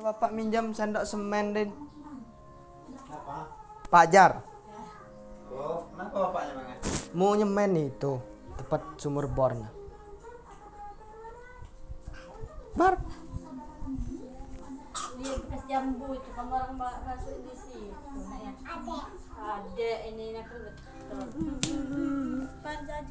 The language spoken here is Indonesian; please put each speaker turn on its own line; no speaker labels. Bapak minjam sendok semen, Din. Pak Jar,
Oh, kenapa bapaknya bang?
mau nyemen itu tepat sumur bornya. Bar,
Dia bekas jambu itu kamu orang ma- masuk di situ. Ada. Ada ini nak betul.
Pak Jar